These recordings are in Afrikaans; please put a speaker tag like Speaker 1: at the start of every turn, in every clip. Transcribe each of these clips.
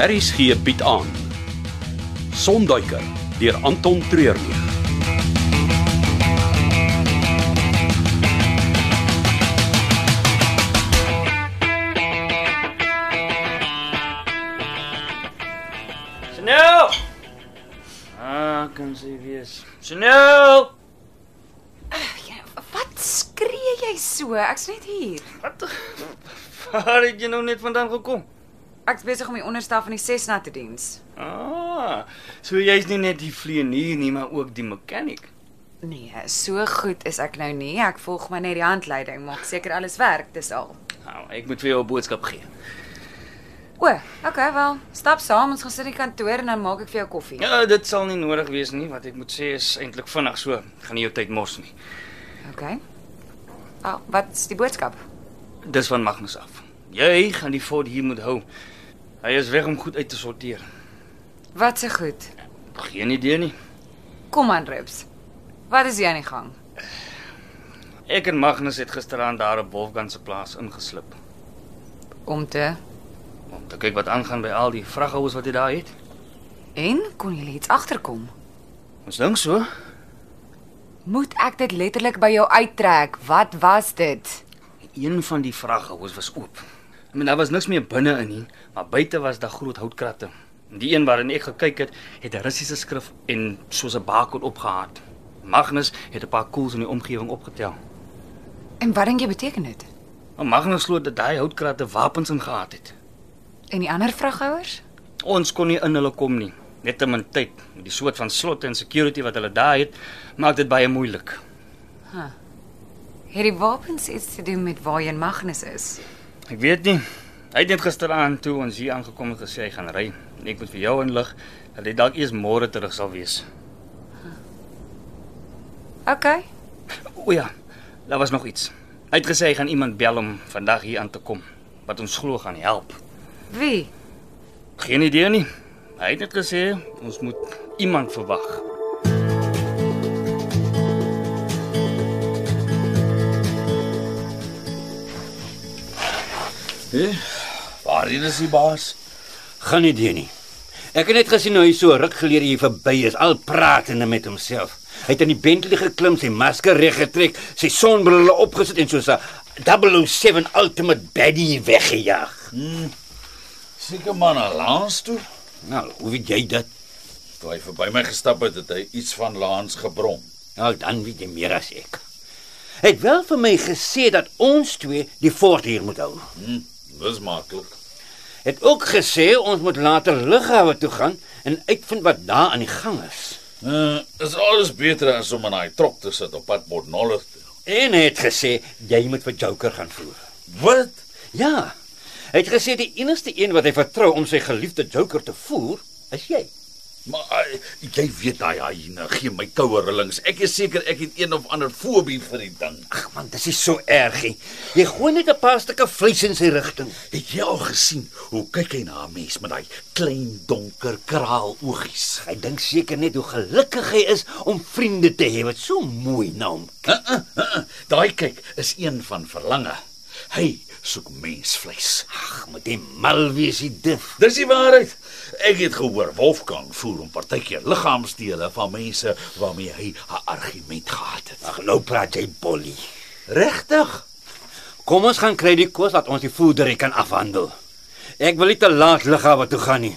Speaker 1: Aries gee Piet aan. Sonduiker deur Anton Treurnig.
Speaker 2: Snel! Ah, kan sy wees. Snel!
Speaker 3: Ja, wat skree jy so? Ek's net hier.
Speaker 2: Wat? Waar het jy nou net vandaan gekom?
Speaker 3: Ek's besig om die onderste van die Cessna te diens.
Speaker 2: Ah, so jy's nie net die vleienier nie, maar ook die mekaniek.
Speaker 3: Nee, so goed is ek nou nie. Ek volg maar net die handleiding, maak seker alles werk, dis al.
Speaker 2: Nou, ek moet vir jou 'n boodskap gee.
Speaker 3: O, okay, wel, stap saam, ons gaan sit in die kantoor en dan maak ek vir jou koffie.
Speaker 2: Ja, dit sal nie nodig wees nie, wat ek moet sê is eintlik vinnig, so gaan nie jou tyd mors nie.
Speaker 3: Okay. Ah, wat is die boodskap?
Speaker 2: Dis van Magnus af. Jy gaan die Ford hier moet hou. Hy is weg om goed uit te sorteer.
Speaker 3: Wat se goed.
Speaker 2: Geen idee nie.
Speaker 3: Kom aan, Rips. Wat is jy aan die gang?
Speaker 2: Ek en Magnus het gisteraand daar op Wolfgang se plaas ingeslip
Speaker 3: Om te
Speaker 2: om te kyk wat aangaan by al die vraghouers wat hy daar het.
Speaker 3: en kon jy iets agterkom?
Speaker 2: Ons dink so.
Speaker 3: Moet ek dit letterlik by jou uittrek? Wat was dit?
Speaker 2: Een van die vraghouers was oop. Ek meen daar was niks meer binne in nie, maar buite was daar groot houtkratte. Die een waarin ek gekyk het, het 'n Russiese skrif en soos 'n barcode opgehaat. Magnus het 'n paar koels in die omgewing opgetel.
Speaker 3: En wat dink jy beteken dit?
Speaker 2: Maar Magnus glo dat daai houtkratte wapens ingehaat het.
Speaker 3: En die ander vraghouers?
Speaker 2: Ons kon nie in hulle kom nie, net te min tyd. Met die soort van slotte en security wat hulle daar het, maak dit baie moeilik.
Speaker 3: Het die wapens iets te doen met waarheen Magnus is?
Speaker 2: Ek weet nie. Hy het net gisteraand toe ons hier aangekom het gesê hy gaan ry. En Ek moet vir jou inlig dat hy dalk eers môre terug sal wees.
Speaker 3: OK.
Speaker 2: O ja, daar was nog iets. Hy het gesê hy gaan iemand bel om vandag hier aan te kom wat ons glo gaan help.
Speaker 3: Wie?
Speaker 2: Geen idee nie. Hy het net gesê ons moet iemand verwag.
Speaker 4: Waarheen is die baas?
Speaker 5: Gaan nie deur nie. Ek het net gesien hoe hy so ruk gelede hier verby is, al pratende met homself. Hy het in die Bentley geklim, sy masker reggetrek, sy sonbrille opgesit en soos 'n 007 Ultimate Baddie weggejaag.
Speaker 4: Seker man na Lans toe.
Speaker 5: Nou, hoe weet jy dit?
Speaker 4: Toe hy verby my gestap het, het hy iets van Lans gebrom.
Speaker 5: Nou dan weet jy meer as ek. Hy het wel vir my gesê dat ons twee die fort hier moet hou.
Speaker 4: Hm, dis maklik.
Speaker 5: Het ook gesê ons moet later lughawe toe gaan en uitvind wat daar aan die gang is.
Speaker 4: Uh, is alles beter as om in daai trok te sit op pad Botnollig.
Speaker 5: En hy het gesê jy moet vir Joker gaan voer.
Speaker 4: Wat?
Speaker 5: Ja. Hy het gesê die enigste een wat hy vertrou om sy geliefde Joker te voer, is jy.
Speaker 4: Maar uh, jy weet daai hyena gee my koue rillings. Ek is seker ek het een of ander fobie vir die ding.
Speaker 5: Ag man, dis nie so erg nie. Jy gooi net 'n paar stukke vleis in sy rigting.
Speaker 4: Het jy al gesien hoe kyk hy na 'n mens met daai klein donker kraal oogies?
Speaker 5: Hy dink seker net hoe gelukkig hy is om vriende te hê wat so mooi na hom. kyk.
Speaker 4: Uh, uh, uh, uh. Daai kyk is een van verlange. Hy soek mensvleis.
Speaker 5: Ag, moet hy mal wees, die dif.
Speaker 4: Dis die waarheid. Ek het gehoor Wolfgang voer om partykeer liggaamsdele van mense waarmee hy 'n argument gehad het.
Speaker 5: Ag, nou praat jy bollie.
Speaker 4: Regtig?
Speaker 5: Kom ons gaan kry die kos dat ons die voedery kan afhandel. Ek wil nie te laat liggawe toe gaan nie.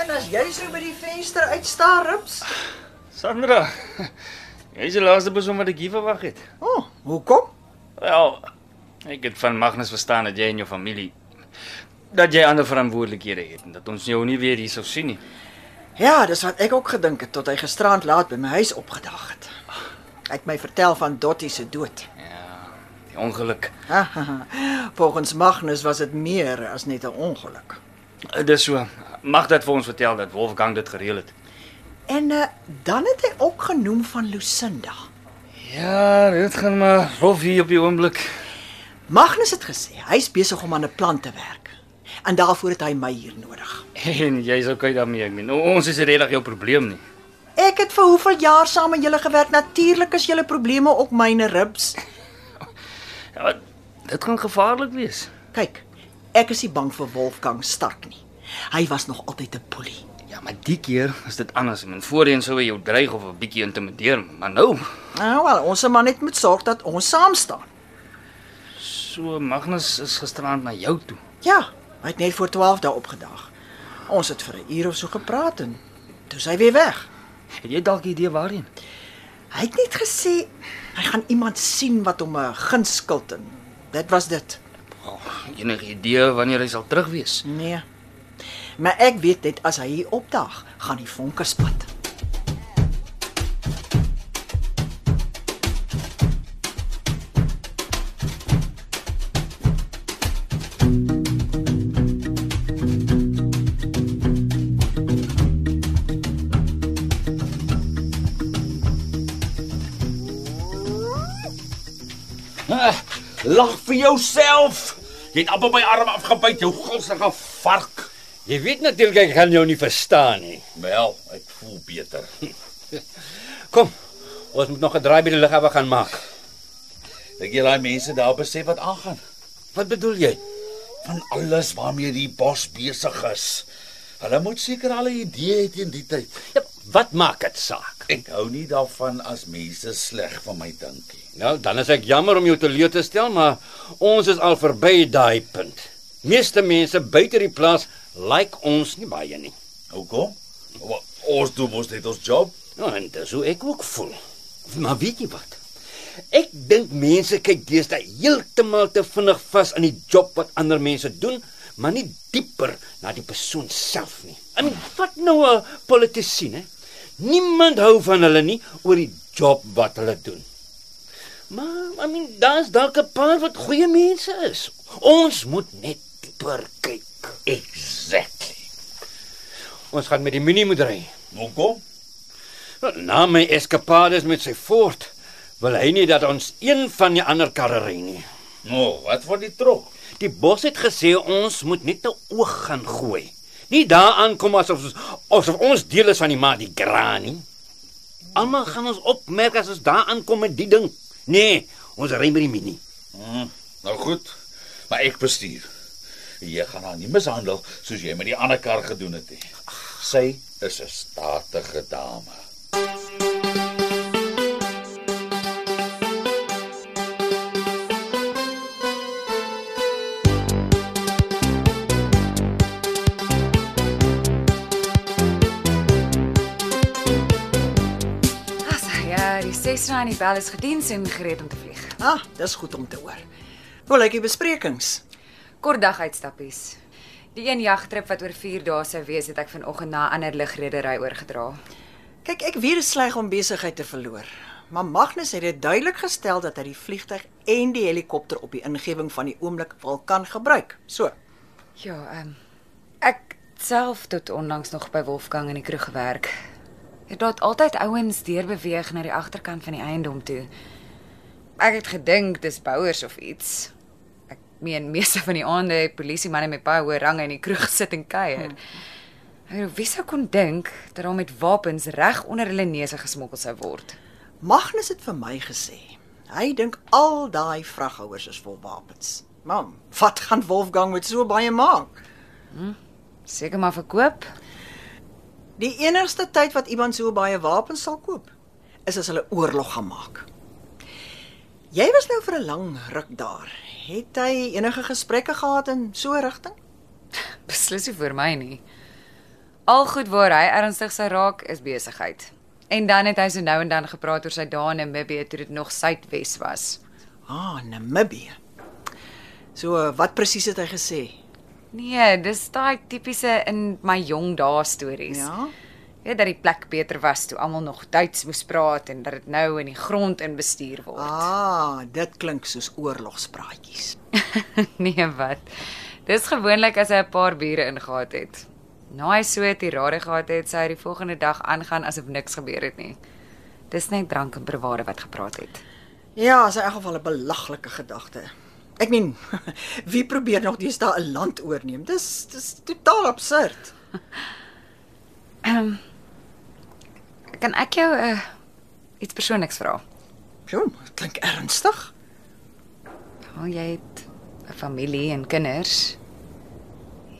Speaker 6: En as jy so by die venster uitstaar, rips.
Speaker 2: Sandra, jy's die laaste persoon wat ek hier verwag het.
Speaker 6: O, oh, hoekom?
Speaker 2: Wel, ek het van Magnus verstaan dat jy en jou familie dat jy ander verantwoordelikhede het en dat ons jou nie weer hier sou sien nie.
Speaker 6: Ja, dis wat ek ook gedink het tot hy gisterand laat by my huis opgedag het. Hy het my vertel van Dottie se dood.
Speaker 2: Ja, die ongeluk.
Speaker 6: Volgens Magnus was dit meer as net 'n ongeluk.
Speaker 2: Eh, Dis so. Mag dit vir ons vertel dat Wolfgang dit gereël het.
Speaker 6: En uh, dan het hy ook genoem van Lucinda.
Speaker 2: Ja, dit gaan maar rof hier op die oomblik.
Speaker 6: Magnus het gesê hy's besig om aan 'n plan te werk. en daarvoor het hy my hier nodig.
Speaker 2: En jy's okay daarmee, ek meen. o- Ons is regtig jou probleem nie.
Speaker 6: Ek het vir hoeveel jaar saam met julle gewerk. Natuurlik is julle probleme ook myne ribs.
Speaker 2: Ja, wat dit gaan gevaarlik wees.
Speaker 6: Kyk, ek is nie bang vir Wolfgang Stark nie. Hy was nog altyd 'n boelie.
Speaker 2: Ja, maar die keer is dit anders. Man, voorheen sou hy jou dreig of 'n bietjie intimideer, maar nou,
Speaker 6: Nou wel, ons man net moet sorg dat ons saam staan.
Speaker 2: so Magnus is gisterand na jou toe.
Speaker 6: Ja, hy het net voor 12 dae opgedag. Ons het vir 'n uur of so gepraat en toe is hy weer weg.
Speaker 2: Het jy dalk 'n idee waarheen?
Speaker 6: Hy het net gesê hy gaan iemand sien wat hom 'n guns skuld en dit was dit.
Speaker 2: Enige idee wanneer hy sal terug wees?
Speaker 6: Nee. Maar ek weet net as hy hier opdag, gaan die vonke spat.
Speaker 4: Lag vir jouself. Jy het amper my arm afgebyt, jou gulsige vark.
Speaker 5: Jy weet natuurlik ek gaan jou nie verstaan nie.
Speaker 4: Wel, ek voel beter.
Speaker 5: Kom. Ons moet nog 'n draai by die lughawe gaan maak.
Speaker 4: Dink jy daai mense daar besef wat aangaan?
Speaker 5: Wat bedoel jy?
Speaker 4: Van alles waarmee die bos besig is. Hulle moet seker al 'n idee hê teen die tyd.
Speaker 5: Ja, wat maak dit saak?
Speaker 4: Ek hou nie daarvan as mense sleg van my dink nie.
Speaker 5: Nou, dan is ek jammer om jou teleur te stel, maar ons is al verby daai punt. Meeste mense buite die plaas like ons nie baie nie.
Speaker 4: Hoekom? Wa- Ons doen mos net ons job.
Speaker 5: Nou, en dis hoe ek ook voel. Maar weet jy wat? Ek dink mense kyk deesdae heeltemal te vinnig vas aan die job wat ander mense doen, maar nie dieper na die persoon self nie. I mean, vat nou 'n politisie, né? Niemand hou van hulle nie oor die job wat hulle doen. Maar I mean, daar's dalk 'n paar wat goeie mense is. Ons moet net dieper kyk.
Speaker 4: Exactly.
Speaker 5: Ons gaan met die minie moet ry.
Speaker 4: Hoekom?
Speaker 5: Na my eskapades met sy Ford wil hy nie dat ons een van die ander karre ry nie.
Speaker 4: Nou, wat van die trok?
Speaker 5: Die bos het gesê ons moet net 'n oog gaan gooi. Nie daaraan kom asof ons asof ons deel is van die Mardi Gras nie. Almal gaan ons opmerk as ons daaraan kom met die ding. Nee, ons ry met die Mini.
Speaker 4: Hm, nou goed. Maar ek bestuur. Jy gaan haar nie mishandel soos jy met die ander kar gedoen het nie. Sy is 'n statige dame.
Speaker 3: As hy ja, die 6 rand die bel is gediens en gereed om te vlieg.
Speaker 6: Ah, dis goed om te hoor. Hoe lyk die besprekings?
Speaker 3: Kort dag uitstappies. Die een jagtrip wat oor 4 dae sou wees, het ek vanoggend na 'n ander ligredery oorgedra.
Speaker 6: Kyk, ek weet dit is sleg om besigheid te verloor, maar Magnus het dit duidelik gestel dat hy die vliegtyg en die helikopter op die ingewing van die oomblik wil kan gebruik. So,
Speaker 3: Ja, ehm um, ek self tot onlangs nog by Wolfgang in die kroeg gewerk. Het daar altyd ouens deurbeweeg na die agterkant van die eiendom toe. Ek het gedink dis bouers of iets. Ek meen meeste van die aande het polisiemanne met baie hoë range in die kroeg sit en kuier. Hulle wie sou kon dink dat daar met wapens reg onder hulle neuse gesmokkel sou word.
Speaker 6: Magnus het vir my gesê, hy dink al daai vraghouers is vol wapens. Mam, wat gaan Wolfgang met so baie maak?
Speaker 3: Seker maar verkoop.
Speaker 6: Die enigste tyd wat iemand so baie wapens sal koop, is as hulle oorlog gaan maak. Jy was nou vir 'n lang ruk daar. Het hy enige gesprekke gehad in so 'n rigting?
Speaker 3: Beslis nie vir my nie. Al goed waar hy ernstig sy raak is besigheid. En dan het hy so nou en dan gepraat oor sy dae in Namibië toe dit nog Suidwes was.
Speaker 6: Ah, Namibië. So, eh, wat presies het hy gesê?
Speaker 3: Nee, dis daai tipiese in my jong dae stories.
Speaker 6: Ja?
Speaker 3: Weet dat die plek beter was toe almal nog Duits moes praat en dat dit nou in die grond in bestuur word.
Speaker 6: Ah, dit klink soos oorlogspraatjies.
Speaker 3: nee, wat? Dis gewoonlik as hy 'n paar biere ingehaat het. Na hy so 'n tirade gehad het, sou hy die volgende dag aangaan asof niks gebeur het nie. Dis net drank en bravade wat gepraat het.
Speaker 6: Ja, is in elk geval 'n belaglike gedagte. Ek meen, wie probeer nog deesdae 'n land oorneem? Dis dis totaal absurd.
Speaker 3: Ehm kan ek jou 'n iets persoonliks vra?
Speaker 6: Jo, dit klink ernstig.
Speaker 3: Wel, jy het 'n familie en kinders.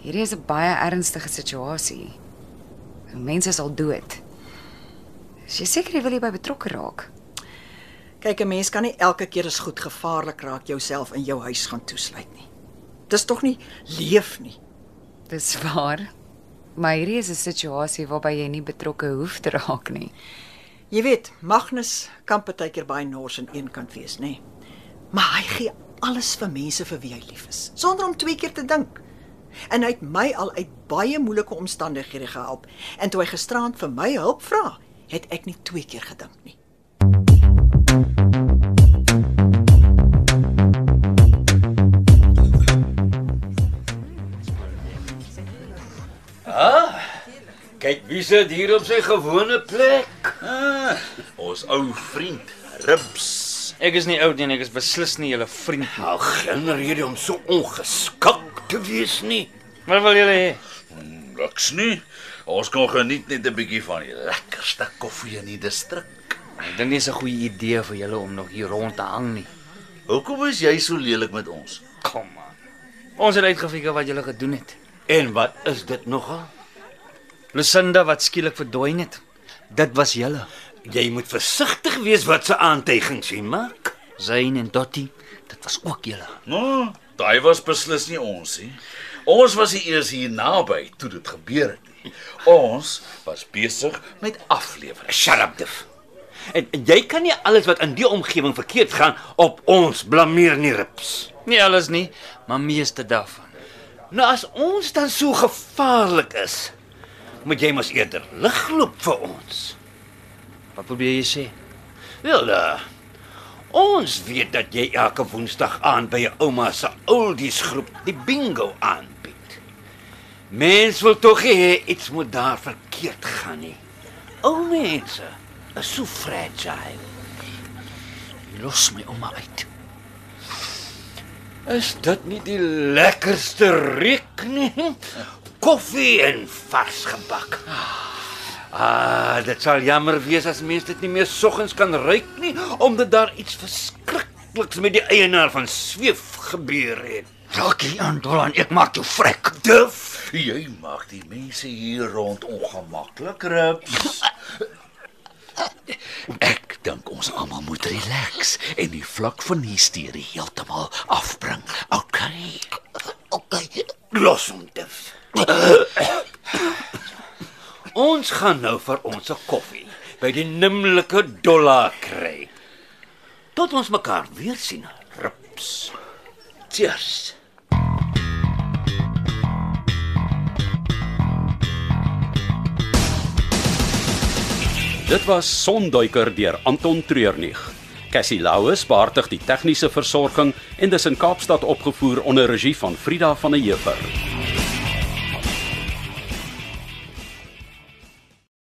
Speaker 3: Hierdie is 'n baie ernstige situasie. Mense is al dood. Is jy seker jy wil hierby betrokke raak?
Speaker 6: Kyk, 'n mens kan nie elke keer as goed gevaarlik raak jouself in jou huis gaan toesluit nie. Dis tog nie leef nie.
Speaker 3: Dis waar. Maar hierdie is 'n situasie waarby jy nie betrokke hoef te raak nie.
Speaker 6: Jy weet, Magnus kan partykeer baie nors aan een kant wees, nê. Maar hy gee alles vir mense vir wie hy lief is, sonder om twee keer te dink. En hy het my al uit baie moeilike omstandighede gehelp. En toe hy gisteraand vir my hulp vra, het ek nie twee keer gedink nie.
Speaker 5: Kyk, wie sit hier op sy gewone plek?
Speaker 4: Ah, ons ou vriend Ribs.
Speaker 2: Ek is nie oud nie en ek is beslis nie julle vriend nie.
Speaker 5: Nou, geen rede om so ongeskik te wees nie.
Speaker 2: Wat wil julle hê?
Speaker 4: Niks nie. Ons kon geniet net 'n bietjie van die lekkerste koffie in die distrik.
Speaker 2: Ek dink nie is 'n goeie idee vir julle om nog hier rond te hang nie.
Speaker 4: Hoekom is jy so lelik met ons?
Speaker 2: Kom aan. Ons het uitgefigure wat julle gedoen het.
Speaker 5: En wat is dit nogal?
Speaker 2: Lucinda wat skielik verdwyn het. Dit was julle.
Speaker 5: Jy moet versigtig wees wat se aantuigings jy maak.
Speaker 2: Zayn en Dottie, dit was ook julle.
Speaker 4: Nou, daai was beslis nie ons nie. Ons was nie eers hier naby toe dit gebeur het nie. Ons was besig met aflewering.
Speaker 5: Shut up, Diff. En jy kan nie alles wat in die omgewing verkeerd gaan op ons blameer nie, Rips.
Speaker 2: Nie alles nie, maar meeste daarvan.
Speaker 5: Nou as ons dan so gevaarlik is, moet jy mos eerder ligloop vir ons.
Speaker 2: Wat probeer jy sê?
Speaker 5: Wel, uh, ons weet dat jy elke woensdag aan by jou ouma se oldies groep die bingo aanbied. Mens wil tog hê iets moet daar verkeerd gaan nie. Ou mense is so fragile.
Speaker 2: Los my ouma uit.
Speaker 5: Is dit nie die lekkerste reuk nie? Koffie en vars gebak. Ah, dit sal jammer wees as mense dit nie meer soggens kan ruik nie, omdat daar iets verskrikliks met die eienaar van Sweef gebeur het.
Speaker 2: Raak hier aan, Dolan, ek maak jou vrek.
Speaker 5: Duf,
Speaker 4: Jy maak die mense hier rond ongemaklik, Ribs. Ek dink ons almal moet relax en die vlak van hysterie heeltemal afbring. Okay. Okay.
Speaker 5: los hom duf. ons gaan nou vir ons 'n koffie by die nimmerlike dollar kry. Tot ons mekaar weer sien. Rips. Cheers.
Speaker 1: Dit was Sonduiker deur Anton Treurnig. Cassie Louws beheer die tegniese versorging en dis in Kaapstad opgevoer onder regie van Frida van der Heever.